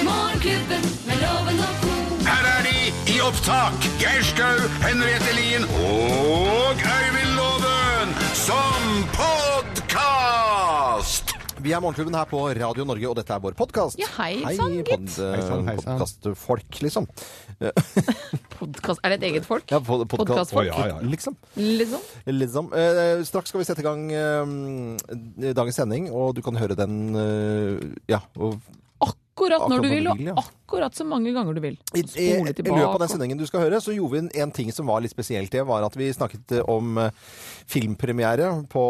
Morgenklubben med Loven og Co. Her er de i opptak. Geir Skau, Henriette Lien og Øyvind Loven som podkast! Vi er Morgenklubben her på Radio Norge, og dette er vår podkast. Ja, hei sann, gitt. pod, sann, hei sann. Podkastfolk, liksom. Podcast, er det et eget folk? Ja, pod, Podcastfolk? Å, ja, ja, ja. Liksom. Liksom. liksom. Eh, straks skal vi sette i gang eh, dagens sending, og du kan høre den eh, Ja. Og, Akkurat Akkurat når du når vil, du og vil, ja. akkurat så mange ganger du vil. i, i, I Spole tilbake. løpet av den sendingen du skal høre, så gjorde vi en, en ting som var litt spesielt. Det var at vi snakket eh, om eh, filmpremiere på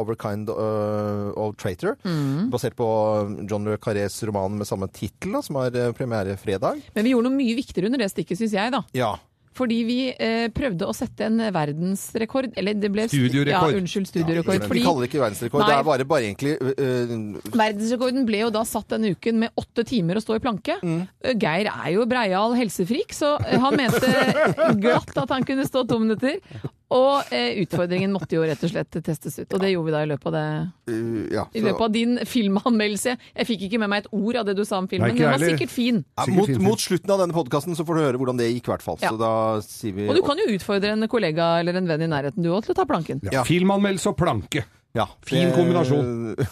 Overkind eh, of Traitor, Mm. basert på eh, John Le Carrés roman med samme tittel, da, som har eh, premiere fredag. Men vi gjorde noe mye viktigere under det stikket, syns jeg, da. Ja. Fordi vi eh, prøvde å sette en verdensrekord. Eller det ble Studiorekord. Ja, unnskyld, studiorekord. Vi kaller det ikke verdensrekord. Det Nei. er bare, bare egentlig øh, øh, Verdensrekorden ble jo da satt denne uken med åtte timer å stå i planke. Mm. Eh, Geir er jo breial helsefrik, så eh, han mente glatt at han kunne stå to minutter. Og eh, utfordringen måtte jo rett og slett testes ut, og det gjorde vi da i løpet av det. øh, ja, I løpet av din filmanmeldelse. Jeg fikk ikke med meg et ord av det du sa om Nei, filmen, ikke men den var heller. sikkert fin. ja, Sikkert mot, fint. mot slutten av denne podkasten så får du høre hvordan det gikk, i hvert fall. Ja. Så da sier vi Og du kan jo utfordre en kollega eller en venn i nærheten du òg til å ta planken. Ja. Ja. Filmanmeldelse og planke. ja, Fin det- kombinasjon.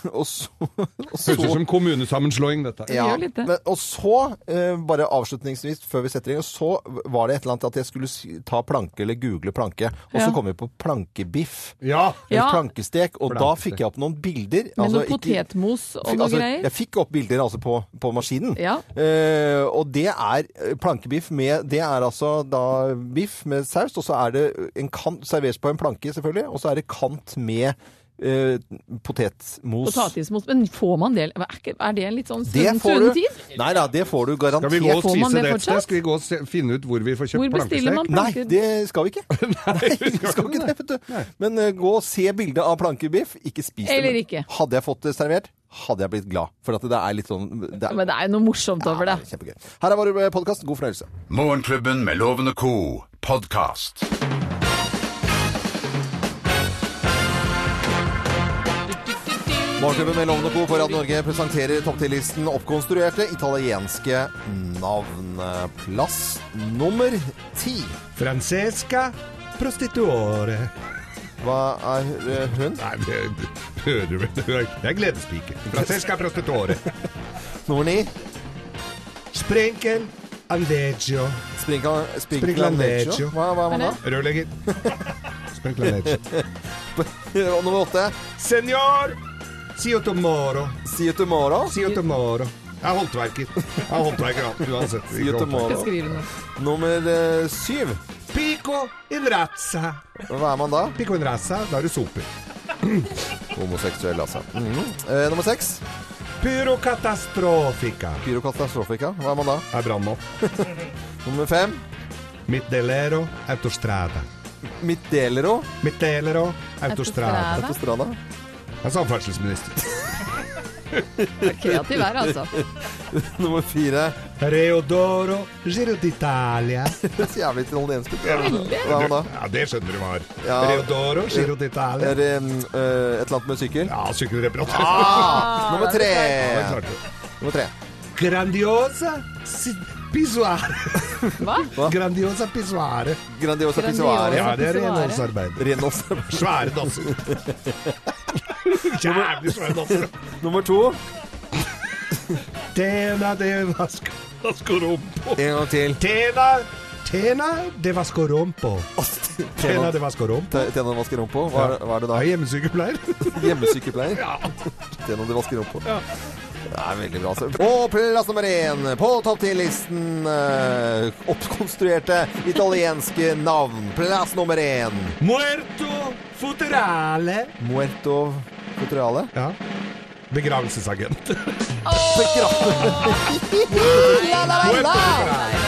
Og så, og så Høres ut som kommunesammenslåing, dette. her. ja, gjør litt det. men, og så, øh, bare avslutningsvis før vi setter i gang, så var det et eller annet at jeg skulle s- ta planke eller google planke, og så Ja. kom vi på plankebiff. Ja. Eller Ja. plankestek, og da Plankestek. fikk jeg opp noen bilder. Med altså noe ikke- potetmos og Fikk- noe altså, greier. Jeg fikk opp bilder altså på, på maskinen. Ja. Eh, og det er eh, plankebiff med Det er altså da biff med saus, og så er det en kant serveres på en planke, selvfølgelig, og så er det kant med eh, potetmos. Potatismos. Men får man det? Er ikke- er det en litt sånn Det sunn får du. tid? Nei da, det får du garantert. Skal vi gå og Får man spise det det et sted? fortsatt? Skal vi gå og se, finne ut hvor vi får kjøpt Hvor bestiller man plankestek? Nei, planker? det skal vi ikke. Nei, vi Vi skal ikke det, vet du. Nei. Men eh, gå og se bildet av plankebiff. Ikke spis det. Eller men ikke. Hadde jeg fått det servert, hadde jeg blitt glad. For at det er litt sånn det er, Men det er jo noe morsomt over ja, det. det er kjempegøy. Her er vår podkast. God fornøyelse. Morgenklubben med Loven og Co. podkast. Morgenklubben med Loven og Co. på Radio Norge presenterer topptillisten oppkonstruerte italienske navn. Plass nummer ti. Francesca prostituore. Hva er eh, hun? Nei, det det hører du vel det hører- Det er gledespiker. Francesca prostituore. Nummer ni. Sprenkel andeggio. Sprinkla- Sprinklandeggio. Sprinklandeggio. Hva, hva er man da? Rørlegger. Sprenkel andeggio. Og nummer åtte. Senor! Sio tomorrow. Si tomorrow. Sio tomorrow. Jeg er håndverker. Jeg er håndverker, han, uansett. Si tomorrow. Beskrivende. Nummer eh, syv. Pico in razza. Hva er man da? Pico in razza, da er du soper. Homoseksuell, altså. Mhm. Eh, nummer seks. Pyrokatastrofica. Pyrokatastrofika. Hva er man da? Er brannmann. Nummer fem. Middelero autostrada. Middelero. Middelero autostrada. Autostrada. På stranda. Jeg er samferdselsminister. Det er kreativ her, altså. Nummer fire. Reodoro Giro d'Italia. Det er så jævlig italiensk ut. Hva er man da? Ja, det skjønner du hva er. Ja. Reodoro Giro d'Italia. Er eh, mm, eh, et eller annet med sykkel? Ja, sykkelreparatør. Ah, nummer tre! Det klarte du. Nummer tre. Grandiosa si- pissoare. Hva? Grandiosa pissoare. Grandiosa. Grandiosa pissoare. Ja, det er Pissoare. renholdsarbeid. Renos. Svære dasser. Jævlig svære dasser. Nummer to. Tena de Vasco- Vascorompo. En gang til. Tena Tena de Vascorompo. Tena de Vascorompo. Tena vasker rumpa. Hva, er- hva er det da? Jeg er hjemmesykepleier. Hjemmesykepleier? Ja. Tena de vasker rumpa. Det er veldig bra. altså. Og plass nummer én på topp 10-listen. eh, oppkonstruerte italienske navn. Plass nummer én. Muerto futerale. Muerto Cotriale. Ja. Begravelsesagent. Muerto futerale.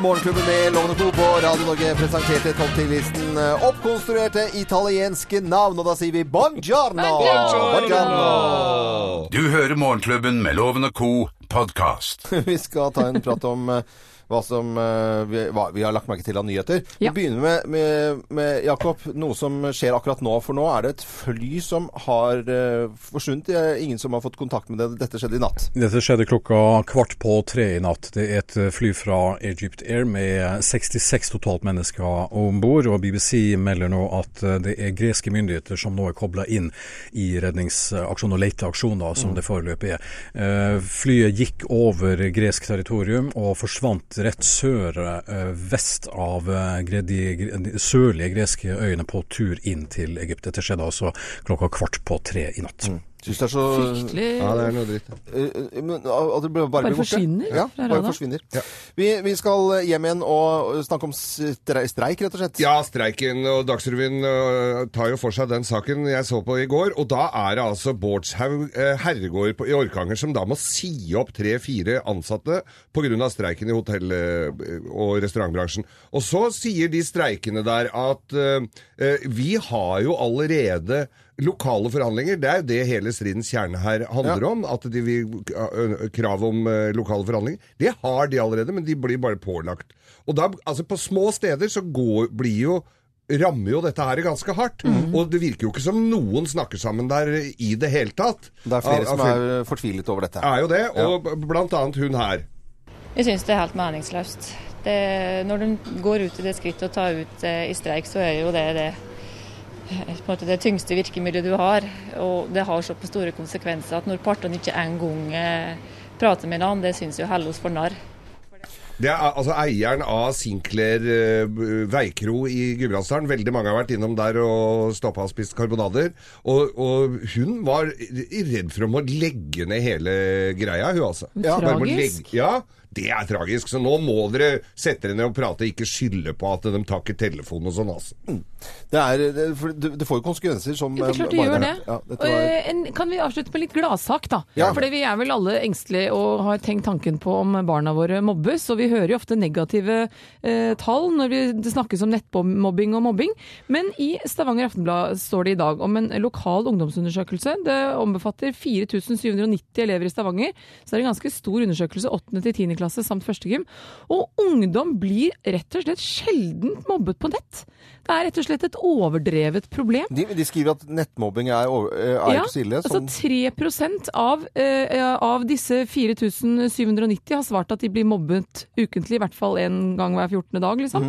Morgenklubben med Lovende Co på Radio Norge presenterte topp 10-listen eh, oppkonstruerte italienske navn. Og da sier vi buongiorno! Buongiorno! Du hører Morgenklubben med Loven og Co. podkast. Vi skal ta en prat om eh, hva som eh, vi, hva vi har lagt merke til av nyheter. Ja. Vi begynner med, med, med Jakob. Noe som skjer akkurat nå. For nå er det et fly som har eh, forsvunnet. Det er ingen som har fått kontakt med det. Dette skjedde i natt. Dette skjedde klokka kvart på tre i natt. Det er et eh, fly fra Egypt Air med 66 totalt mennesker om bord. Og BBC melder nå at eh, det er greske myndigheter som nå er kobla inn i redningsaksjon og leteaksjon, da, som det foreløpig er. Eh, Flyet gikk over gresk territorium og forsvant rett sør, eh, vest av eh, gre- de gre- de sørlige greske øyene på tur inn til Egypt. Dette skjedde altså klokka kvart på tre i natt. Syns det er så Fryktelig Ja, det er noe dritt. Eh, eh, men at det bare, bare blir borte. forsvinner Ja, fra bare radar. forsvinner. Vi, vi skal hjem igjen og eh, snakke om stre- streik, rett og slett. Ja, streiken og Dagsrevyen øh, tar jo for seg den saken jeg så på i går. Og da er det altså Bårdshaug eh, herregård på- i Orkanger som da må si opp tre-fire ansatte pga. streiken i hotell- eh, og restaurantbransjen. Og så sier de streikende der at eh, eh, vi har jo allerede Lokale forhandlinger, det er jo det hele stridens kjerne her handler om. At de vil ø- krav om eh, lokale forhandlinger. Det har de allerede, men de blir bare pålagt. Og da, altså på små steder så går, blir jo rammer jo dette her ganske hardt. Mhm. Og det virker jo ikke som noen snakker sammen der i det hele tatt. Det er flere Av- av som fyr- er fortvilet over dette. er jo det, og b- blant annet hun her. Jeg syns det er helt meningsløst. Det, når du går ut i det skrittet å ta ut eh, i streik, så er jo det det, eh, på en måte det tyngste virkemidlet du har. Og det har såpass store konsekvenser at når partene ikke engang eh, prater med hverandre, det syns jo holder oss for narr. Det er altså eieren av Sinclair eh, b- Veikro i Gudbrandsdalen. Veldig mange har vært innom der og stoppa og spist karbonader. Og, og hun var i- i redd for å må legge ned hele greia, hun altså. bare må Tragisk. legge- Ja, det er tragisk. Så nå må dere sette dere ned og prate, ikke skylde på at de tar ikke telefonen og sånn, altså. Det, er, det, for det, det får jo konsekvenser som Jo, det er klart eh, det bare- gjør det. Ja, dette Og, var, eh, en, kan vi avslutte med litt gladsak, da? Ja. Fordi vi er vel alle engstelige og har tenkt tanken på om barna våre mobbes, og vi hører jo ofte negative eh, tall når vi, det snakkes om nettmobbing og mobbing. Men i Stavanger Aftenblad står det i dag om en lokal ungdomsundersøkelse. Det ombefatter 4790 elever i Stavanger, så det er en ganske stor undersøkelse 8. til 10. klasse samt førstegym. Og ungdom blir rett og slett sjelden mobbet på nett. Det er rett og slett et overdrevet problem. de, de skriver at nettmobbing er, over- eh, er ikke så ille. Som, altså 3 av, eh, av disse 4790 har svart at de blir mobbet ukentlig, i hvert fall en gang hver 14. dag. Liksom.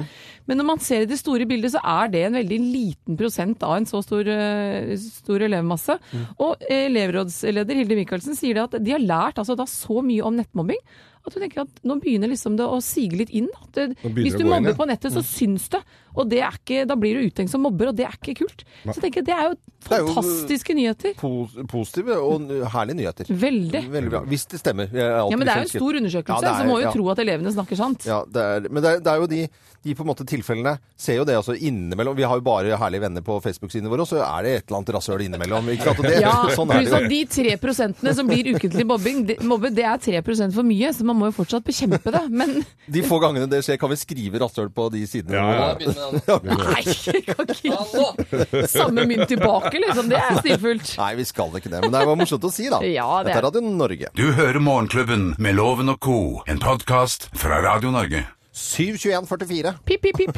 Men når man ser i det store bildet, så er det en veldig liten prosent av en så stor, eh, stor elevmasse. Og eh, elevrådsleder Hilde Michaelsen sier det at de har lært altså, da, så mye om nettmobbing at hun tenker at nå begynner liksom det å sige litt inn. At det, begynner hvis det du å gå inn, mobber ja. på nettet, så syns det. Og det er ikke, da blir du utenkt som mobber, og det er ikke kult. Så jeg tenker jeg det er jo er jo- fantastiske nyheter. po- positive og n- herlige nyheter. Veldig. Veldig bra. Hvis det stemmer. Jeg er alltid Ja, men det er jo en forelsket. stor undersøkelse, Ja, det er- så må jo ja. tro at elevene snakker sant. Ja, det er, men det er, det er jo de, de på en måte tilfellene ser jo det altså innimellom. Vi har jo bare herlige venner på Facebook-sidene våre, og så er det et eller annet rasshøl innimellom. Ikke sant? Og det, Ja, sånn er pluss det at jo. de tre prosentene som blir ukentlig mobbing, de, mobbet, det er tre prosent for mye, så man må jo fortsatt bekjempe det. Men De få gangene det skjer, kan vi skrive rasshøl på de sidene. Ja, våre. ja. nei, jeg kan ikke Samme mynt tilbake, liksom. Det er stilfullt. Nei, vi skal ikke det. Men det var morsomt å si, da. Ja, det er- Dette er Radio Norge. Du hører Morgenklubben med Loven og Co., en podkast fra Radio Norge. 7.21,44. Pip, pip, pip.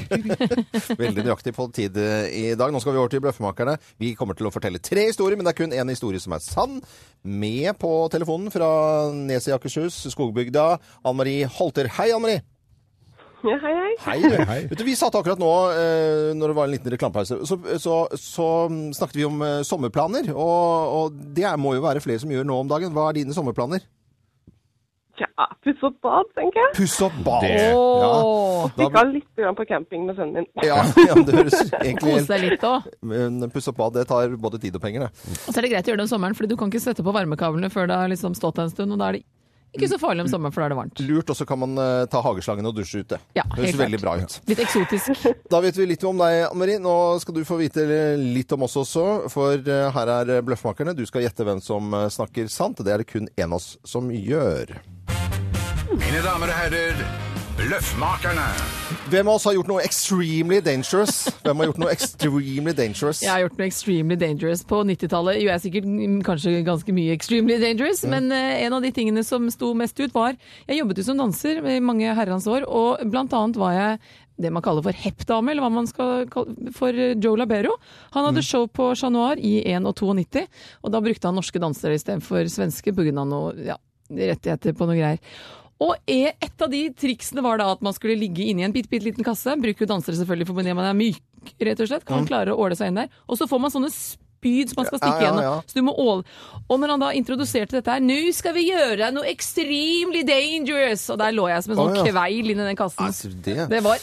Veldig nøyaktig på tid eh, i dag. Nå skal vi over til Bløffmakerne. Vi kommer til å fortelle tre historier, men det er kun én historie som er sann. Med på telefonen fra Nes i Akershus, Skogbygda, Ann Marie Holter. Hei, Ann Marie. Ja, hei, hei. Hei. Vet du, vi satt akkurat nå, eh, når det var en liten reklamepause, så, så, så mm, snakket vi om eh, sommerplaner. Og, og det er- må jo være flere som gjør nå om dagen. Hva er dine sommerplaner? Ja, puss opp bad, tenker jeg. Pusse opp bad. Det- Åh, Stikka litt grann på camping med sønnen min. Ja, ja, men det høres egentlig Kose helt deg litt òg. Men pusse opp bad, det tar både tid og penger, det. Og så er det greit å gjøre det om sommeren, Fordi du kan ikke sette på varmekablene før det har liksom stått en stund. Og da er det ikke så farlig om sommeren, for da er det varmt. Lurt, og så kan man eh, ta hageslangen og dusje ute. Ja, det høres helt veldig bra ut. Litt eksotisk. Da vet vi litt om deg, Anne Marie. Nå skal du få vite litt om oss også, for eh, her er Bløffmakerne. Du skal gjette hvem som eh, snakker sant. Det er det kun én av oss som gjør. Mine damer og herrer, Løffmakerne. Hvem av oss har gjort noe extremely dangerous? Hvem har gjort noe extremely dangerous? Jeg har gjort noe extremely dangerous på 90-tallet. Gjorde jeg sikkert mm, kanskje ganske mye extremely dangerous, men eh, en av de tingene som sto mest ut var Jeg jobbet jo som danser i mange herrens år, og blant annet var jeg det man kaller for heppdame, eller hva man skal kalle for eh, Joe Labero. Han hadde show på Chat Noir i 1 og 92, og da brukte han norske dansere istedenfor svenske pga. noe ja, rettigheter på noe greier. Og e- et av de triksene var da at man skulle ligge inni en bitte, bitte liten kasse. Bruker jo dansere selvfølgelig for når man er myk, rett og slett. Kan klare å åle seg inn der. Og så får man sånne spyd som man skal stikke Ja, ja, gjennom. ja. Så du må åle. Og når han da introduserte dette her, nå skal vi gjøre noe extremely dangerous! Og der lå jeg som en sånn Å, ja. kveil inni den kassen. Altså, det... det var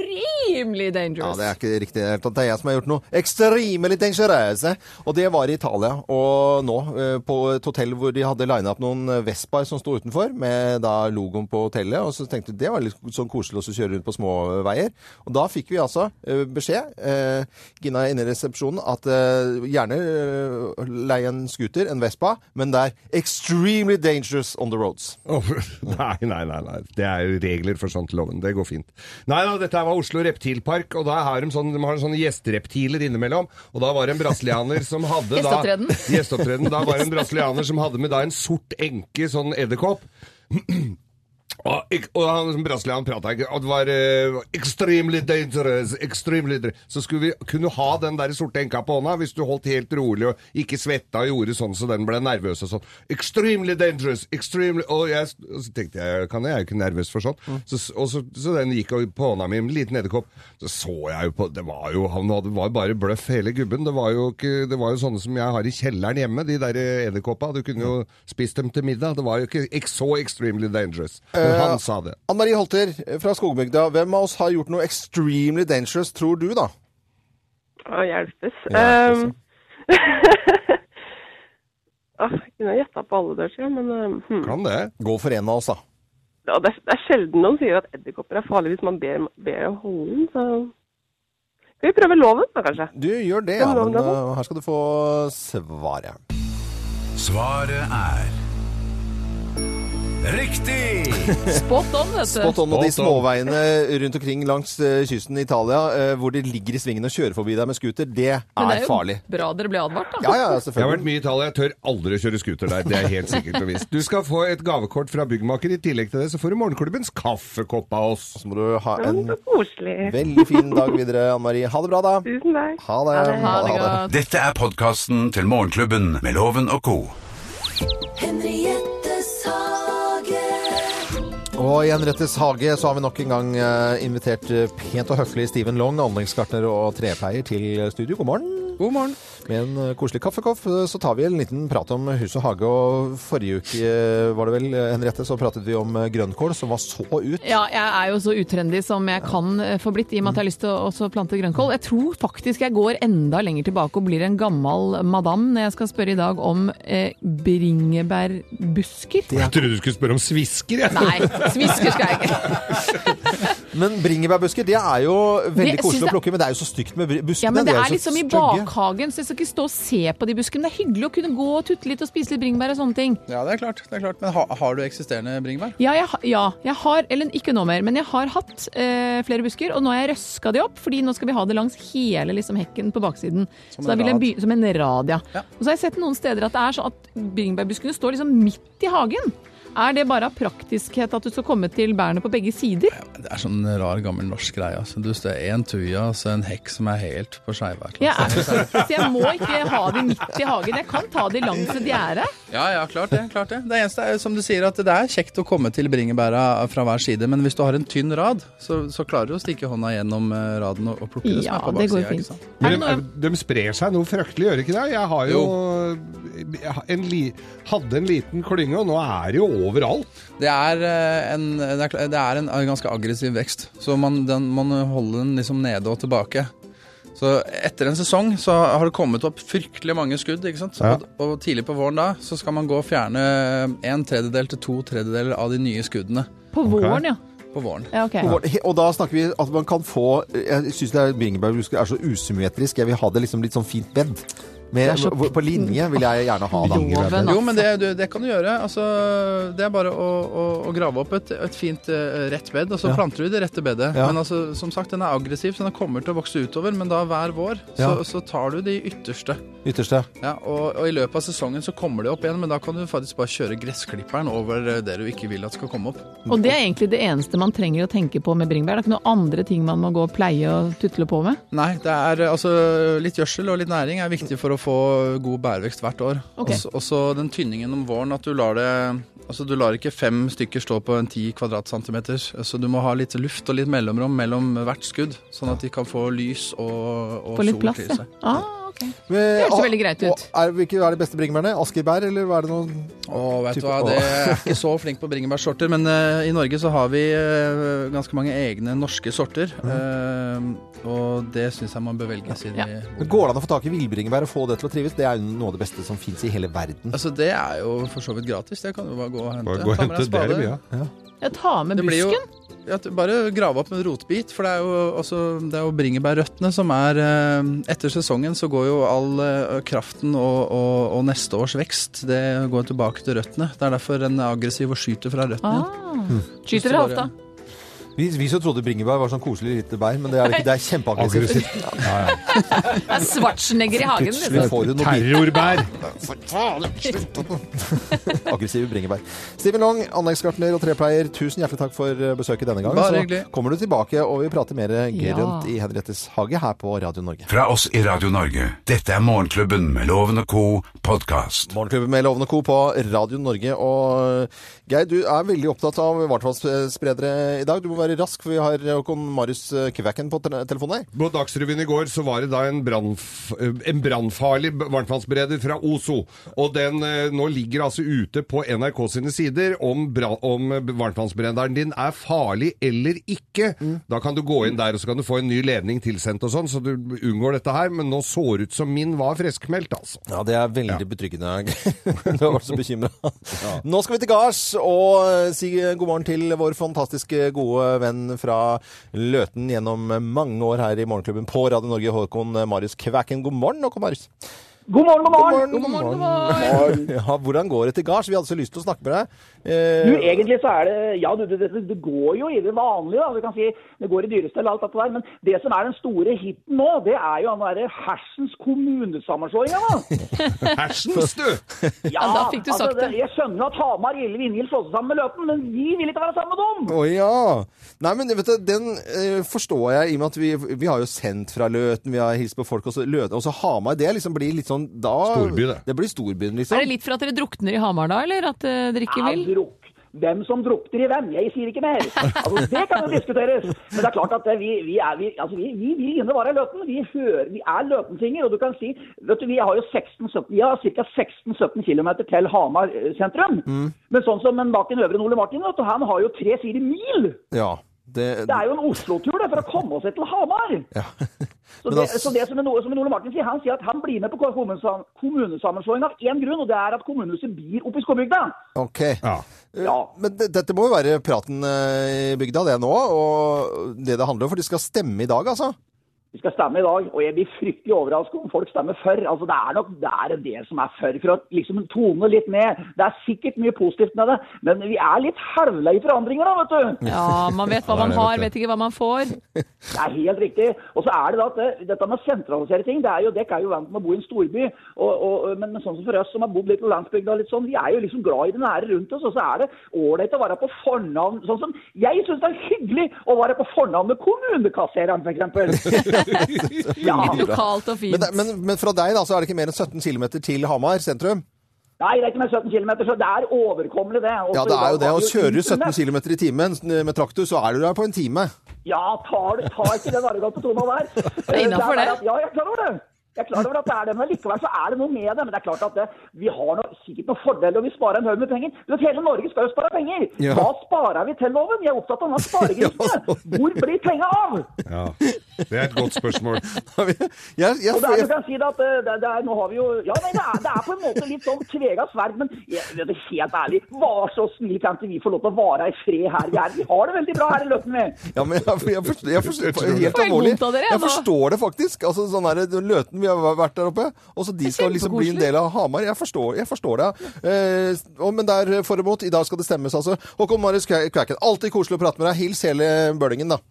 extremely Ja, dangerous. det er ikke riktig. i det hele tatt. Det er jeg som har gjort noe extremely dangerous. Og det var i Italia. Og nå, eh, på et hotell hvor de hadde lina opp noen eh, Vespaer som sto utenfor, med da logoen på hotellet. Og så tenkte vi det var litt sånn koselig å kjøre rundt på små eh, veier. Og da fikk vi altså eh, beskjed, eh, Gina inne i resepsjonen, at eh, gjerne eh, leie en scooter, en Vespa, men det er extremely dangerous on the roads. Åh, Nei, nei, nei, nei. Det er jo regler for sånt, loven. Det går fint. Nei da, dette her var Oslo Reptilpark, og da har de, sånn, de har sånne gjestereptiler innimellom. Og da var det en brasilianer som hadde da Gjesteopptreden. Gjesteopptreden. Da var det en brasilianer som hadde med da en sort enke, sånn edderkopp. Og, ikk- og han som brasilianer prata ikke, og det var eh, extremely dangerous, extremely dr- Så skulle vi kunne ha den der sorte enka på hånda hvis du holdt helt rolig og ikke svetta og gjorde sånn så den ble nervøs og sånn. Extremely dangerous, extremely Og, jeg, s- og så tenkte jeg, kan jeg, jeg er jo ikke nervøs for sånn. Så, s- og så, så den gikk og på hånda mi med en liten edderkopp. Så så jeg jo på Det var jo han hadde, var jo bare bløff hele gubben. Det var jo ikke, det var jo sånne som jeg har i kjelleren hjemme, de der eh, edderkoppa. Du kunne jo spist dem til middag. Det var jo ikke ek- så extremely dangerous. Men han sa det. Ann Marie Holter eh, fra Skogbygda, hvem av oss har gjort noe extremely dangerous, tror du, da? Å, hjelpes. Hjelpes, Um, Åh, jeg kunne gjetta på alle dørtida, men um, hm. Kan det. Gå for en av oss, da. Ja, det, er, det er sjelden noen sier at edderkopper er farlig hvis man ber, ber om holden, så Skal vi prøve loven, da, kanskje? Du gjør det, ja, Kom igjen, men da. eh, her skal du få svaret. Svaret er Riktig! Spot on, vet du. Spot on og de Spot on. småveiene rundt omkring langs eh, kysten i Italia eh, hvor de ligger i svingen og kjører forbi deg med scooter, det er, Men det er jo farlig. bra dere ble advart, da. Ja, ja, Jeg har vært selvfølgelig. mye i Italia, jeg tør aldri å kjøre scooter der. Det er helt sikkert og visst. Du skal få et gavekort fra byggmaker. I tillegg til det så får du morgenklubbens kaffekopp av oss. Så må du ha Ja, en men Så koselig. veldig fin dag videre, Anne Marie. Ha det bra, da. Tusen takk. Ha det. Ha det godt. Dette er podkasten til Morgenklubben med Loven og co. Henriettes hage. Og i Henrettes hage så har vi nok en gang eh, invitert eh, pent og høflig Steven Long, anleggsgartner og trepleier, til studio. God morgen. God morgen. Med en eh, koselig kaffekopp eh, så tar vi en liten prat om hus og hage. Og forrige uke eh, var det vel, eh, Henriette, så pratet vi om eh, grønnkål som var så ut. Ja, jeg er jo så utrendy som jeg kan eh, få blitt, i og med at jeg har lyst til å også plante grønnkål. Jeg tror faktisk jeg går enda lenger tilbake og blir en gammel madam når jeg skal spørre i dag om eh, bringebærbusker. Jeg trodde du skulle spørre om svisker, jeg. Nei, svisker skal jeg ikke. Men bringebærbusker det er jo veldig Det- jeg koselig synes å plukke, men det er jo så stygt med br- buskene. Ja, men det de er jo så liksom i stygge. bakhagen, så jeg skal ikke stå og se på de buskene. Men det er hyggelig å kunne gå og tutte litt og spise litt bringebær og sånne ting. Ja, det er klart. Det er klart. Men ha, har du eksisterende bringebær? Ja, jeg, ha- ja, jeg har, eller ikke nå mer, men jeg har hatt eh, flere busker, og nå har jeg røska de opp, fordi nå skal vi ha det langs hele liksom, hekken på baksiden. Som, Som så da en vil jeg rad. by, som en rad, ja. Ja. Og så har jeg sett noen steder at det er sånn at bringebærbuskene står liksom midt i hagen. Er det bare av praktiskhet at du skal komme til bærene på begge sider? Det er sånn rar, gammel norsk greie. Altså. Du ser en tuja og så en hekk som er helt på skeiva. Jeg er, så jeg må ikke ha de midt i hagen. Jeg kan ta de langs et gjerde. Ja, ja, klart det. klart Det Det eneste er som du sier, at det er kjekt å komme til bringebæra fra hver side, men hvis du har en tynn rad, så, så klarer du å stikke hånda gjennom eh, raden og, og plukke det som Ja, er på det går baksida. ikke fint. sant? Er det Men eh, de, noe de sprer seg noe fryktelig, gjør de ikke det? Jeg har jo, jeg har en li, hadde en liten klynge, og nå er det jo overalt. Det er, eh, en, det, er, kla- det er en ganske aggressiv vekst, så man, den, man holder den liksom nede og tilbake. Så etter en sesong så har det kommet opp fryktelig mange skudd, ikke sant? Ja. Og, og tidlig på våren da så skal man gå og fjerne en tredjedel til to tredjedeler av de nye skuddene på våren, ja. på våren. ja ok. Og hvor- Og da snakker vi at man kan få Jeg syns bringebærbusker er så usymmetrisk. Jeg vil ha det liksom litt sånn fint bedd. Med, hvor- på linje vil jeg gjerne ha da. Jo, men det, du, det kan du gjøre. Altså, det er bare å, å, å grave opp et, et fint eh, rett bed, og så Ja. planter du i det rette bedet. Ja. Men altså, som sagt, den er aggressiv, så den kommer til å vokse utover. Men da hver vår så, Ja. så tar du de ytterste. Ytterste. Ja, og, og i løpet av sesongen så kommer det opp igjen, men da kan du faktisk bare kjøre gressklipperen over eh, det du ikke vil at skal komme opp. Og det er egentlig det eneste man trenger å tenke på med bringebær. Det er ikke noen andre ting man må gå og pleie og tutle på med. Nei, det er eh, altså litt gjødsel og litt næring er viktig for å få god bærvekst hvert år. Ok. Også- Også den tynningen om våren, at du lar det Altså du lar ikke fem stykker stå på en ti kvadratcentimeter, så du må ha litt luft og litt mellomrom mellom hvert skudd, sånn at de kan få lys og, og Få litt sol plass, til ja. seg. Ah, ok. Det hørtes veldig greit ut. Er, hvilke er de beste bringebærene? Askebær, eller hva er det noen Å, vet du Type- hva, det jeg er ikke så flink på bringebærsorter, men eh, i Norge så har vi eh, ganske mange egne norske sorter, Mhm. eh, og det syns jeg man bør velge sin Ja. Men Går det an å få tak i villbringebær og få det til å trives? Det er jo noe av det beste som fins i hele verden. Altså, det er jo for så vidt gratis. Det kan du bare gå og hente. Bare gå og Ta med deg hente det er spade. det mye av. Jeg tar med Det blir jo- busken. Ja, at du bare grave opp en rotbit, for det er jo, også, det er jo bringebærrøttene som er eh, Etter sesongen så går jo all eh, kraften og, og, og neste års vekst Det går tilbake til røttene. Det er derfor den er aggressiv og skyter fra røttene. igjen. Ah. Skyter dere Hvis du hofta? bare- Vi, vi så trodde bringebær var sånn koselig lite bær, men det er det ikke. Det er kjempeaggressivt. Det er svartsnegger i hagen. Plutselig Liksom. får du noe bit Terrorbær. aggressive bringebær. Steven Long, anleggsgartner og trepleier, tusen hjertelig takk for eh, besøket denne gangen. Bare Så hyggelig. kommer du tilbake, og vi prater mer Ja. grønt i Henriettes hage her på Radio Norge. Fra oss i Radio Norge. Dette er Morgenklubben med Loven og Co. podkast. Morgenklubben med Lovende Co. på Radio Norge. Og eh, Geir, du er veldig opptatt av varmtvannsspredere i dag. Du må være rask, for vi har eh, Håkon Marius Kvæken på tele- telefonen her. På Dagsrevyen i går så var det da en brannf- en brannfarlig varmtvannsbereder fra Ozo. Og den eh, nå ligger altså ute på NRK sine sider om, brann- om varmtvannsberederen din er farlig eller ikke. Da kan du gå inn der og så kan du få en ny ledning tilsendt og sånn, så du unngår dette her. Men nå så det ut som min var friskmeldt, altså. Ja, det er veldig betryggende. du har vært så bekymra. Nå skal vi til gards og eh, si god morgen til vår fantastiske gode venn fra Løten gjennom mange år her i Morgenklubben på Radio Norge, Håkon Marius Kvæken. God morgen, Håkon Marius. God morgen, god morgen! God morgen. Ja, hvordan går det til gards? Vi hadde så lyst til å snakke med deg. Eh, Du, egentlig så er det Ja, du, det, det, det går jo i det vanlige, da. Du kan si det går i dyrestell og alt dette der. Men det som er den store hiten nå, det er jo den derre hersens kommunesammenslåinga, da. Altså, Hersens, du! Ja, da fikk du sagt det. Jeg skjønner at Hamar, Gille, Vinghild slår seg sammen med Løten, men vi vil ikke være sammen med dem! Å ja. Nei, men vet du, den eh, forstår jeg i og med at vi, vi har jo sendt fra Løten, vi har hilst på folk, og så Løten og så Hamar. Det liksom blir litt sånn da Storby, det. blir storbyen, liksom. Er det litt for at dere drukner i Hamar da, eller at eh, dere ikke vil? Ja, drukk. Hvem som drukner i hvem, jeg sier ikke mer. Altså, det kan jo diskuteres. Men det er klart at eh, vi, vi, er, vi, altså, vi, vi vil gjerne være i Løten. Vi, hører, vi er løtensinger, og du kan si vet du, Vi har jo 16-17 vi har ca. 16-17 km til Hamar eh, sentrum. Men sånn som en Bakken Øvre Ole Martin, vet du, han har jo 3-4 mil! Ja. Det, Det er jo en Oslo-tur det, for å komme oss til Hamar. ja. Så Men det, altså- så det som, en, som en Ole Martin sier, han sier at han blir med på kommunesam- kommunesammenslåing av én grunn, og det er at kommunehuset blir oppe i Skåbygda. OK. Ja. Eh, Ja. Men det, dette må jo være praten eh, i bygda, det nå, og det det handler om. For de skal stemme i dag, altså. Vi skal stemme i dag, og jeg blir fryktelig overrasket om folk stemmer for. Altså, det er nok det, er en del som er for, for å liksom tone litt ned. Det er sikkert mye positivt med det, men vi er litt halvlei forandringer da, vet du. Ja, man vet hva man har, vet ikke hva man får. Det er helt riktig. Og så er det da at det, dette med å sentralisere ting, det er jo, dere er jo vant med å bo i en storby, og, og, men, men sånn som for oss som har bodd litt på landsbygda, og litt sånn, vi er jo liksom glad i det nære rundt oss, og så er det ålreit å være på fornavn. Sånn som, jeg synes det er hyggelig å være på fornavn med kommunekassereren, for eksempel. ja, Lokalt og Men, fint. det, men, men fra deg da, så er det ikke mer enn 17 km til Hamar sentrum? Nei, det er ikke mer enn 17 km, så det er overkommelig, det. Og Ja, så det er jo det. har Og vi kjører du internet. 17 km i timen med traktor, så er du der på en time. Ja, tar, du- tar ikke den argot på tromma der. er innenfor det. bare at- Ja, jeg er klar over det. Jeg er klar over at det er det, men likevel så er det noe med det. Men det er klart at det, vi har noe, sikkert noen fordeler, og vi sparer en haug med penger. Du vet, Hele Norge skal jo spare penger. Ja. Hva sparer vi til, Loven? Jeg er opptatt av hva sparegrisen Hvor blir penga av? ja. Det er et godt spørsmål. Jeg, jeg, Og det er, jeg, du kan si det at eh, det, det er, nå har vi jo Ja, nei, det er, det er på en måte litt sånn tvega sverd, men jeg, vet du, helt ærlig, vær så snill, kan ikke vi få lov til å vare i fred her vi er? Vi har det veldig bra her i Løten, vi. Ja, men jeg, jeg, forstår, jeg forstår, Jeg tror det. helt Får jeg alvorlig. vondt av dere, Jeg altså? forstår det faktisk. Altså, sånn der, Løten vi har vært der oppe. Og så de Det er skal liksom bli en kjempekoselig. del av Hamar. Jeg forstår, jeg forstår det. Eh, og, men der for og mot. I dag skal det stemmes, altså. Håkon Marius Kvæ- Kvæken, alltid koselig å prate med deg. Hils hele bølingen, da.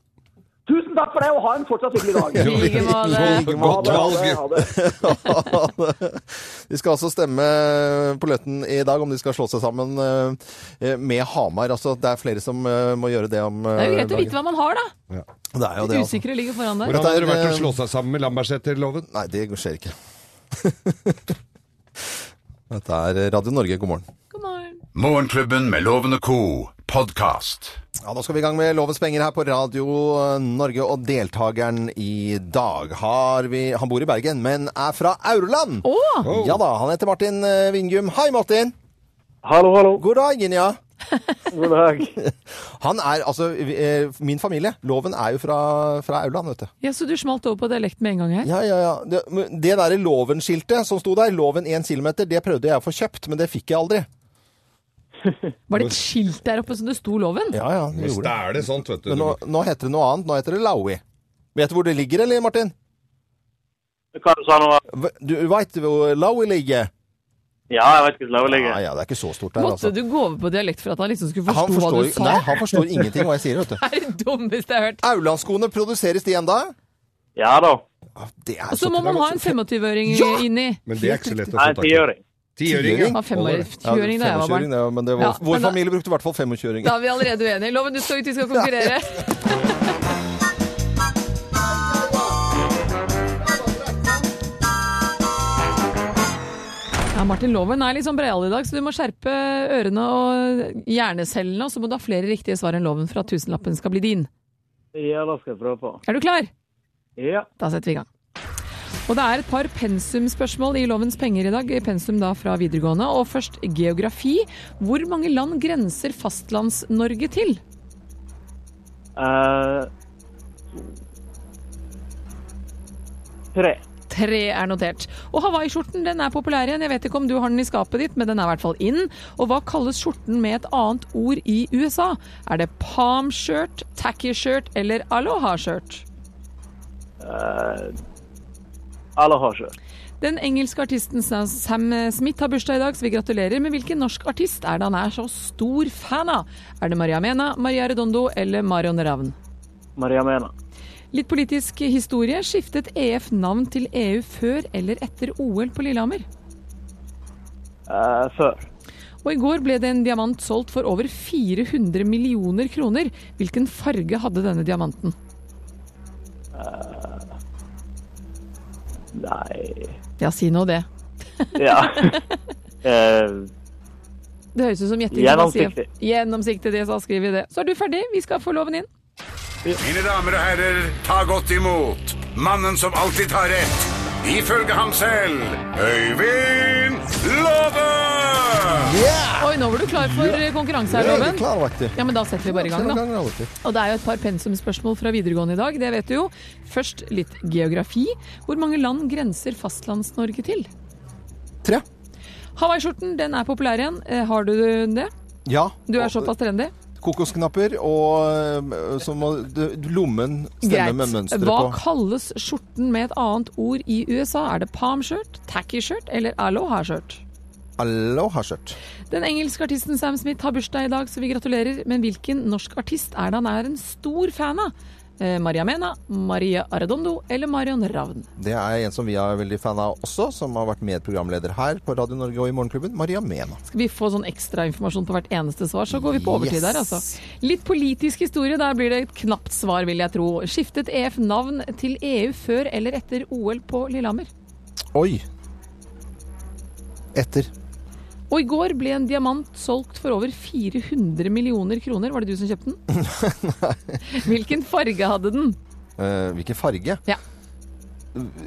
Tusen takk for det, og ha en fortsatt hyggelig dag. I like måte. Godt valg. Ha det. de skal altså stemme på Løtten i dag om de skal slå seg sammen eh, med Hamar. Altså, det er flere som eh, må gjøre det om eh, Det er jo greit å dagen. vite hva man har, da. Det er jo det, altså. Usikre ligger foran der. Hvordan hadde Dette er, det vært å eh, slå seg sammen med Lambertseter-loven? Nei, det skjer ikke. Dette er Radio Norge, god morgen. God morgen. Morgenklubben med Loven og Co. podcast. Ja, Da skal vi i gang med Lovens penger her på Radio Norge, og deltakeren i dag har vi Han bor i Bergen, men er fra Aurland. Å! Ja da, han heter Martin eh, Vingum. Hei, Martin. Hallo, hallo. God dagen, ja. God dag. Han er altså vi- eh, Min familie, Loven, er jo fra, fra Aurland, vet du. Ja, så du smalt over på dialekt med en gang her? Ja, ja, ja. Det, men det derre Loven-skiltet som sto der, Loven 1 km, det prøvde jeg å få kjøpt, men det fikk jeg aldri. Var det et skilt der oppe som det sto loven? Ja, ja, det gjorde det. Stæle sånt, vet du. Men nå, nå heter det noe annet. Nå heter det Laui. Vet du hvor det ligger, eller, Martin? Hva du sa nå? V- Du veit hvor Laui ligger? Ah, Ja, jeg vet ikke hvordan det Ja, ja, det er ikke så stort der, Måtte altså. du gå over på dialekt for at han liksom skulle Han forstå hva forstår, du sa? nei, han forstår ingenting hva jeg sier, vet du. Det er det dummeste jeg har hørt. Aurlandsskoene, produseres de enda? Ja da. Ja, Det er Og altså. så må man ha en 25-øring Ja! inni. Men det er ikke så lett å Nei, få tak i. Tiøring, Det Tiøring, var femåring da jeg var barn. det, ja, men det var, Ja, vår men da- familie brukte i hvert fall 25-åring. Da er vi allerede uenige. Loven, du skal ut, vi skal konkurrere. Ja, Martin Loven er litt sånn breial i dag, så du må skjerpe ørene og hjernecellene. Og så må du ha flere riktige svar enn Loven for at tusenlappen skal bli din. Ja, da skal jeg prøve på. Er du klar? Ja. Da setter vi i gang. Og det er et par pensumspørsmål i Lovens penger i dag. Pensum da fra videregående. Og først geografi. Hvor mange land grenser Fastlands-Norge til? Eh, tre. Tre er notert. Og hawaiiskjorten den er populær igjen. Jeg vet ikke om du har den i skapet ditt, men den er i hvert fall inn. Og hva kalles skjorten med et annet ord i USA? Er det palm shirt, tacky shirt eller aloha shirt? Alle har kjørt. Den engelske artisten Sam Smith har bursdag i dag, så vi gratulerer. Men hvilken norsk artist er det han er så stor fan av? Er det Maria Mena, Maria Redondo eller Marion Ravn? Maria Mena. Litt politisk historie. Skiftet EF navn til EU før eller etter OL på Lillehammer? Eh, før. Og i går ble det en diamant solgt for over 400 millioner kroner. Hvilken farge hadde denne diamanten? Nei Ja, si nå det. Ja. Eh, Det høres ut som gjetting. når man sier- Gjennomsiktig. Gjennomsiktig, det sa skriver vi det. Så er du ferdig, vi skal få loven inn. Mine damer og herrer, ta godt imot mannen som alltid tar rett. Ifølge ham selv Øyvind Låve! Oi, nå var du klar for eh, konkurranse her, Jeg er Loven. klar, vet du. Ja, men da setter vi bare i gang, da. Ja, vet du. Og det er jo et par pensumspørsmål fra videregående i dag, det vet du jo. Først litt geografi. Hvor mange land grenser Fastlands-Norge til? Tre. Hawaiiskjorten, den er populær igjen. Eh, Har du det? Ja. Du er og- såpass trendy. Kokosknapper og eh, så må du- lommen stemme med mønsteret Hva på. kalles skjorten med et annet ord i USA? Er det palmskjørt, tacky-skjørt eller aloha-skjørt? Aloha-skjørt. Den engelske artisten Sam Smith har bursdag i dag, så vi gratulerer. Men hvilken norsk artist er det han er en stor fan av? Eh, Maria Mena, Maria Arredondo eller Marion Ravn? Det er en som vi er veldig fan av også, som har vært medprogramleder her på Radio Norge og i Morgenklubben. Maria Mena. Skal vi få sånn ekstrainformasjon på hvert eneste svar, så går vi på overtid Yes. der, altså. Litt politisk historie, der blir det et knapt svar, vil jeg tro. Skiftet EF navn til EU før eller etter OL på Lillehammer? Oi. Etter. Og i går ble en diamant solgt for over 400 millioner kroner. Var det du som kjøpte den? Hvilken farge hadde den? Eh, hvilken farge? Ja.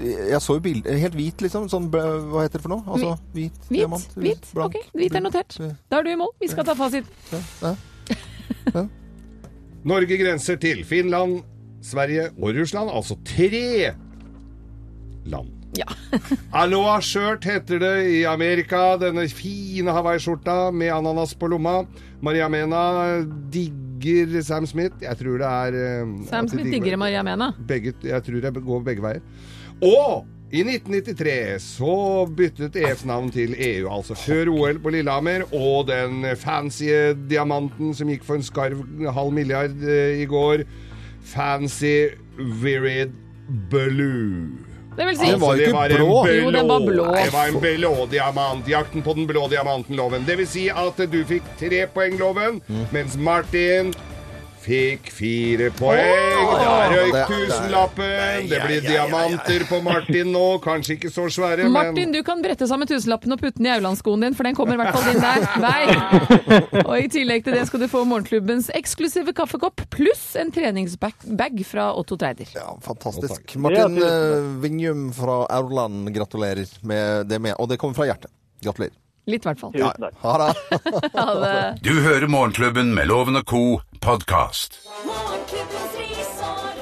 Jeg så jo bilder Helt hvit, liksom. Sånn, bø- hva heter det for noe? Altså, hvit, Hvit? Hvit? Ok, hvit er notert. Da er du i mål. Vi skal ta fasit. Norge grenser til Finland, Sverige og Russland, altså tre land. Ja. Aloha skjørt heter det i Amerika, denne fine hawaiiskjorta med ananas på lomma. Maria Mena digger Sam Smith. Jeg tror det er eh, Sam at de Smith digger Maria Mena. begge, Jeg tror jeg går begge veier. Og I 1993 så byttet EF navn til EU, altså før OL på Lillehammer, og den fancy diamanten som gikk for en skarv halv milliard eh, i går, Fancy Virid Blue. Det vil si Den var jo det ikke en blå. Jo, den var blå. Det var en blå diamant. Jakten på den blå diamanten, Loven. Det vil si at du fikk tre poeng, Loven, Mm. mens Martin fikk fire poeng. Åh, Da røyk det- det- tusenlappen. Det blir diamanter på Martin nå. Kanskje ikke så svære, Martin, men du kan brette sammen tusenlappen og putte den i Aurlandsskoen din, for den kommer i hvert fall inn der. Nei. Og i tillegg til det skal du få morgenklubbens eksklusive kaffekopp pluss en treningsbag fra Otto Treider. Ja, fantastisk. Martin eh, Vinjum fra Aurland, gratulerer med det med. Og det kommer fra hjertet. Gratulerer. Litt i hvert fall. Tusen takk. Ha det. Ha det. Du hører Morgenklubben med Loven og Co. podkast. Morgenklubbens risår,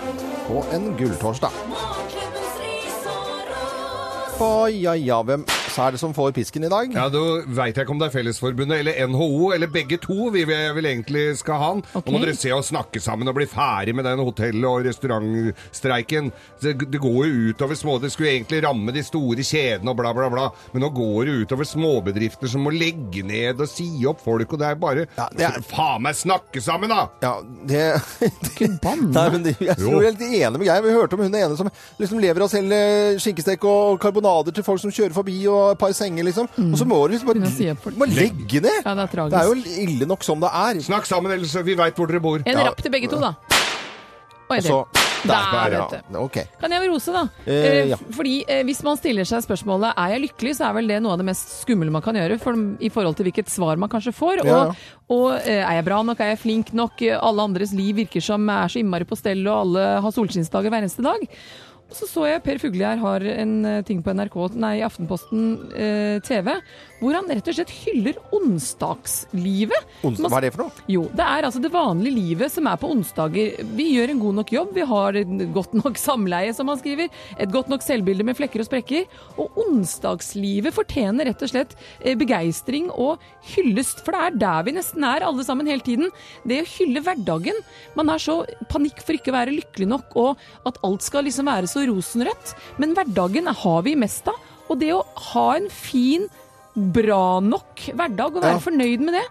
På en gulltorsdag. morgenklubbens risår og Å ja ja, hvem så er det som får pisken i dag? ja, Da veit jeg ikke om det er Fellesforbundet eller NHO, eller begge to vi vil, vil egentlig skal ha den. Ok. Nå må dere se og snakke sammen og bli ferdig med den hotell- og restaurantstreiken. Det, det går jo utover små Det skulle egentlig ramme de store kjedene og bla, bla, bla. Men nå går det utover småbedrifter som må legge ned og si opp folk, og det er bare Ja, det er- Faen meg, snakke sammen, da! Ja, det Nei, men det, jeg er jo helt enig med Geir. Vi hørte om hun ene som liksom lever av å selge skinkestek og karbonader til folk som kjører forbi, og et par senger, liksom. Mm. Og så må du liksom Begynne bare å si opp folk. må legge ned! Ja, det er tragisk. det er jo ille nok som det er. Snakk sammen, ellers vi veit hvor dere bor. En Ja. rapp til begge to, da. Og en Og så til. Der, ja. vet du. OK. Kan jeg rose, da? Eh, ja. Eh, Fordi eh, Hvis man stiller seg spørsmålet er jeg lykkelig, så er vel det noe av det mest skumle man kan gjøre for, i forhold til hvilket svar man kanskje får. Ja, ja. Og, og eh, er jeg bra nok, er jeg flink nok, Eh, alle andres liv virker som er så innmari på stell, og alle har solskinnsdager hver eneste dag. Og så så jeg Per Fugli her har en eh, ting på NRK, nei, Aftenposten eh, TV, hvor han rett og slett hyller onsdagslivet. Ons- Hva er det for noe? Jo, det er altså det vanlige livet som er på onsdager. Vi gjør en god nok jobb, vi har et godt nok samleie, som han skriver. Et godt nok selvbilde med flekker og sprekker. Og onsdagslivet fortjener rett og slett eh, begeistring og hyllest, for det er der vi nesten er alle sammen hele tiden. Det å hylle hverdagen. Man er så panikk for ikke å være lykkelig nok, og at alt skal liksom være så rosenrødt. Men hverdagen har vi mest av. Og det å ha en fin bra nok hverdag og være fornøyd med det,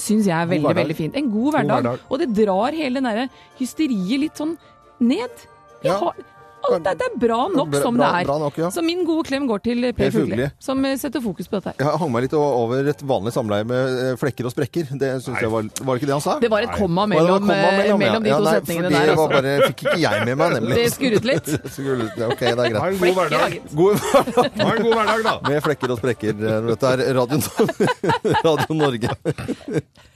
syns jeg er veldig hverdag. veldig fint. En god hverdag. hverdag. Og det drar hele den derre hysteriet litt sånn ned. Vi Ja. har, alt er, det er bra nok Bra- som bra- det er. bra nok, ja. Så min gode klem går til Per Per Fugli. Fugli, som eh, setter fokus på dette. her. Jeg hang meg litt o- over et vanlig samleie med eh, flekker og sprekker. Det synes jeg var, var det ikke det han sa? Det var et komma Å, det var mellom, komma eh, mellom, ja. de Ja, to nei, for setningene det der. var Altså. bare, fikk ikke jeg med meg, nemlig. Det skurret litt. Skurret litt. Ok, det er Ha greit. en god Ikke hverdag. laget. God hverdag Ha en god hverdag, da. med flekker og sprekker. eh, når Dette er Radio, Radio Norge.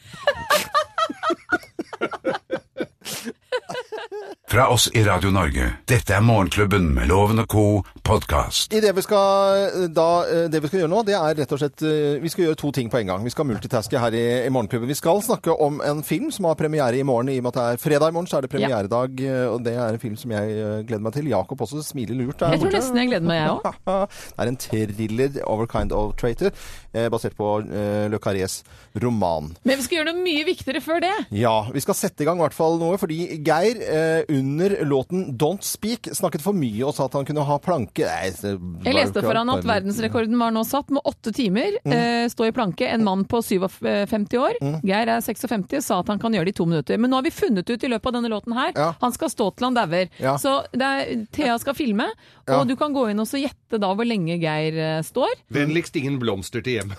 Fra oss i Radio Norge, dette er Morgenklubben med Loven og Co. podkast. I det, vi skal, eh, da, eh, det vi skal gjøre nå, det er rett og slett eh, Vi skal gjøre to ting på en gang. Vi skal multitaske her i, i Morgenklubben. Vi skal snakke om en film som har premiere i morgen. I og med at det er fredag i morgen, så er det premieredag. eh, Og det er en film som jeg eh, gleder meg til. Jakob også smiler lurt. der Jeg tror borte. nesten jeg gleder meg, jeg òg. Det er en thriller, 'Over Kind of Traitor', eh, basert på eh, Le Carrés roman. Men vi skal gjøre noe mye viktigere før det. Ja, vi skal sette i gang i hvert fall noe, fordi Geir eh, under låten 'Don't Speak' snakket for mye og sa at han kunne ha planke. Nei, det var Jeg jo leste ikke for han at bare- verdensrekorden var nå satt med åtte timer. Mm. Eh, stå i planke. En mann på 57 år, Geir er 56, sa at han kan gjøre det i to minutter. Men nå har vi funnet ut i løpet av denne låten her. Ja. Han skal stå til han dauer. Ja. Så det er, Thea skal filme, og Ja. du kan gå inn og så gjette da hvor lenge Geir eh, står. Vennligst ingen blomster til hjem.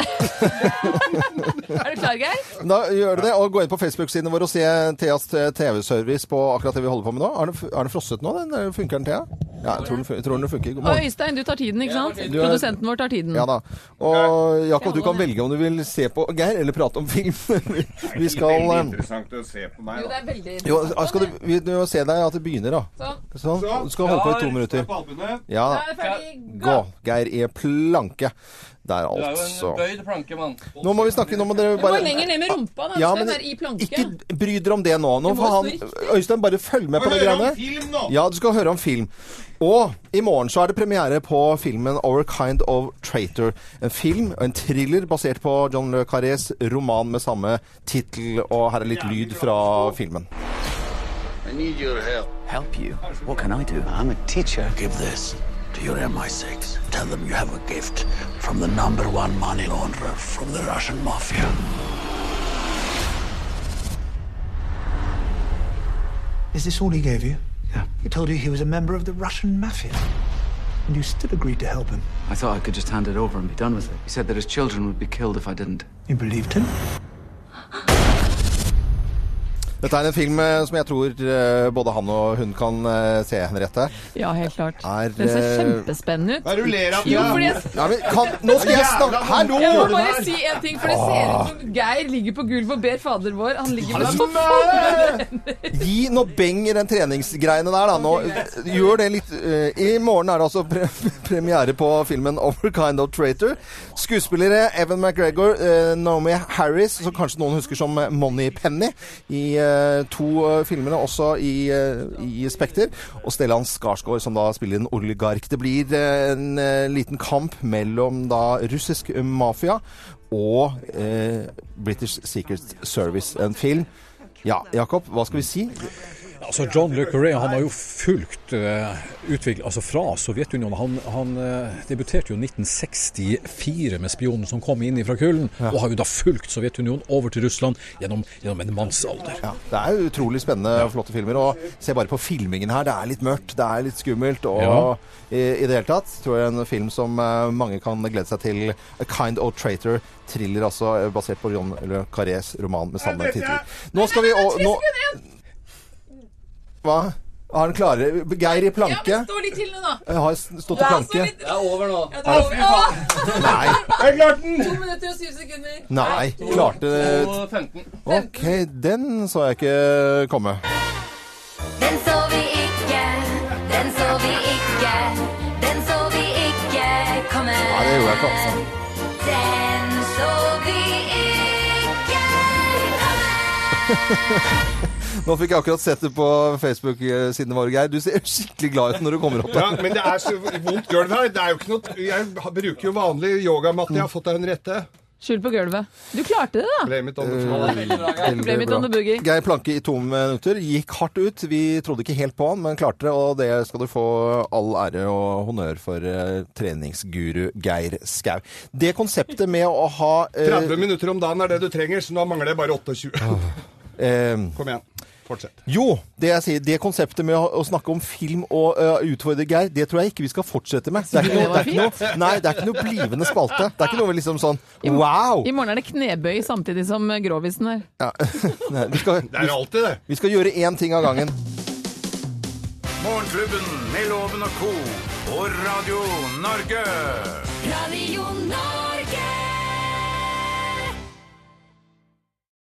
Er du klar, Geir? Da gjør du det, og gå inn på Facebook-sidene våre og se Theas TV-service på akkurat det vi holder på med nå. Er den, f- er den frosset nå, den? eh, Funker den, Thea? Ja, jeg tror den, fun- tror den funker. Og God morgen. Øystein, du tar tiden, ikke sant? er- Produsenten vår tar tiden. Ja da. Og Jakob, du Jeg holder kan med. velge om du vil se på Geir eller prate om film. Vi skal Veldig eh, interessant å se på meg, Jo, da. det er veldig Jo, altså, skal du, vi, du må se deg at det begynner, da. Sånn. Sånn. Du skal holde på i to Stå minutter. på albuene. Ja, Da er vi ferdig. gå. Gå! Geir i planke. Der, altså. Nå må vi snakke, nå må dere Gå bare lenger ned med rumpa, da. Ja, Øystein, men er i planke. Ikke bry dere om det nå. Nå Det må får han stå Øystein bare følg med på Få det høre om greiene. film nå! Ja, du skal høre om film. Og i morgen så er det premiere på filmen 'Our Kind of Traitor'. En film og en thriller basert på John Le Carrés roman med samme tittel. Og her er litt lyd fra filmen. Help you? What can I do? I'm a teacher. Give this to your MI6. Tell them you have a gift from the number one money launderer from the Russian mafia. Is this all he gave you? Yeah. He told you he was a member of the Russian mafia. And you still agreed to help him. I thought I could just hand it over and be done with it. He said that his children would be killed if I didn't. You believed him? Dette er en film eh, som jeg tror eh, både han og hun kan eh, se, Henriette. Ja, helt klart. Er, Den ser eh, kjempespennende ut. Hva er det du ler av? Jo, fordi jeg... Ja, men kan, nå skal jeg snakke her nå! Jeg må bare si en ting, for det ser ut som Geir ligger på gulvet og ber fader vår. Han ligger med sånn Gi nå beng i den treningsgreiene der, da. Nå, gjør det litt eh, I morgen er det altså pre premiere på filmen 'Over Kind of Traitor'. Skuespillere Evan McGregor, eh, Naomi Harris, som kanskje noen husker som Money Penny, i eh, to eh, filmer, også i, eh, i Spekter. Og Stellan Skarsgård, som da spiller en oligark. Det blir eh, en eh, liten kamp mellom da russisk mafia og eh, British Secret Service, en film. Ja, Jakob, hva skal vi si? Altså John Le Carré han har jo fulgt uh, utvikling altså fra Sovjetunionen. Han, han eh, debuterte jo 1964 med 'Spionen som kom inn fra kulden', og har jo da fulgt Sovjetunionen over til Russland gjennom, gjennom en mannsalder. Ja, det er jo utrolig spennende og flotte filmer. Og se bare på filmingen her. Det er litt mørkt, det er litt skummelt. Og Ja. i, i det hele tatt tror jeg en film som eh, mange kan glede seg til. A Kind of Traitor thriller, altså eh, basert på John Le Carrés roman med samme tittel. Nå skal vi å- nå, Hva? Har han klare Geir i planke? Stå litt til nå, da. Jeg har stått i planke. Det er over nå. Ja, det Å, er over. fy Å! Nei. Jeg klarte den! To minutter og syv sekunder. Nei, klarte Og 15. OK, den så jeg ikke komme. Den så vi ikke, den så vi ikke, den så vi ikke komme. Nei, det gjorde jeg ikke, altså. Den så vi ikke Nå fikk jeg akkurat sett det på Facebook-sidene våre, Geir. Du ser skikkelig glad ut når du kommer opp. Ja, men det er så vondt gulv her. Det er jo ikke noe, jeg bruker jo vanlig yogamatte. Jeg har fått av Henriette. Skyld på gulvet. Du klarte det, da. Blame it on the floor. Veldig Blame it on bra. the boogie. Geir Planke i to minutter. Gikk hardt ut. Vi trodde ikke helt på han, men klarte det. Og det skal du få all ære og honnør for, eh, treningsguru Geir Skau. Det konseptet med å ha eh, 30 minutter om dagen er det du trenger, så nå mangler jeg bare 28. eh, Kom igjen. Fortsett. Jo, det jeg sier, det konseptet med å, å snakke om film og ø, utfordre Geir, det tror jeg ikke vi skal fortsette med. Det er ikke noe, det er ikke noe, nei, det er ikke noe blivende spalte. Det er ikke noe vi liksom sånn wow! I morgen er det knebøy samtidig som eh, grovisen her. Ja. Nei, vi, skal, Det er alltid det. vi skal gjøre én ting av gangen. Morgenklubben med Loven og co. og Radio Norge. Radio Norge.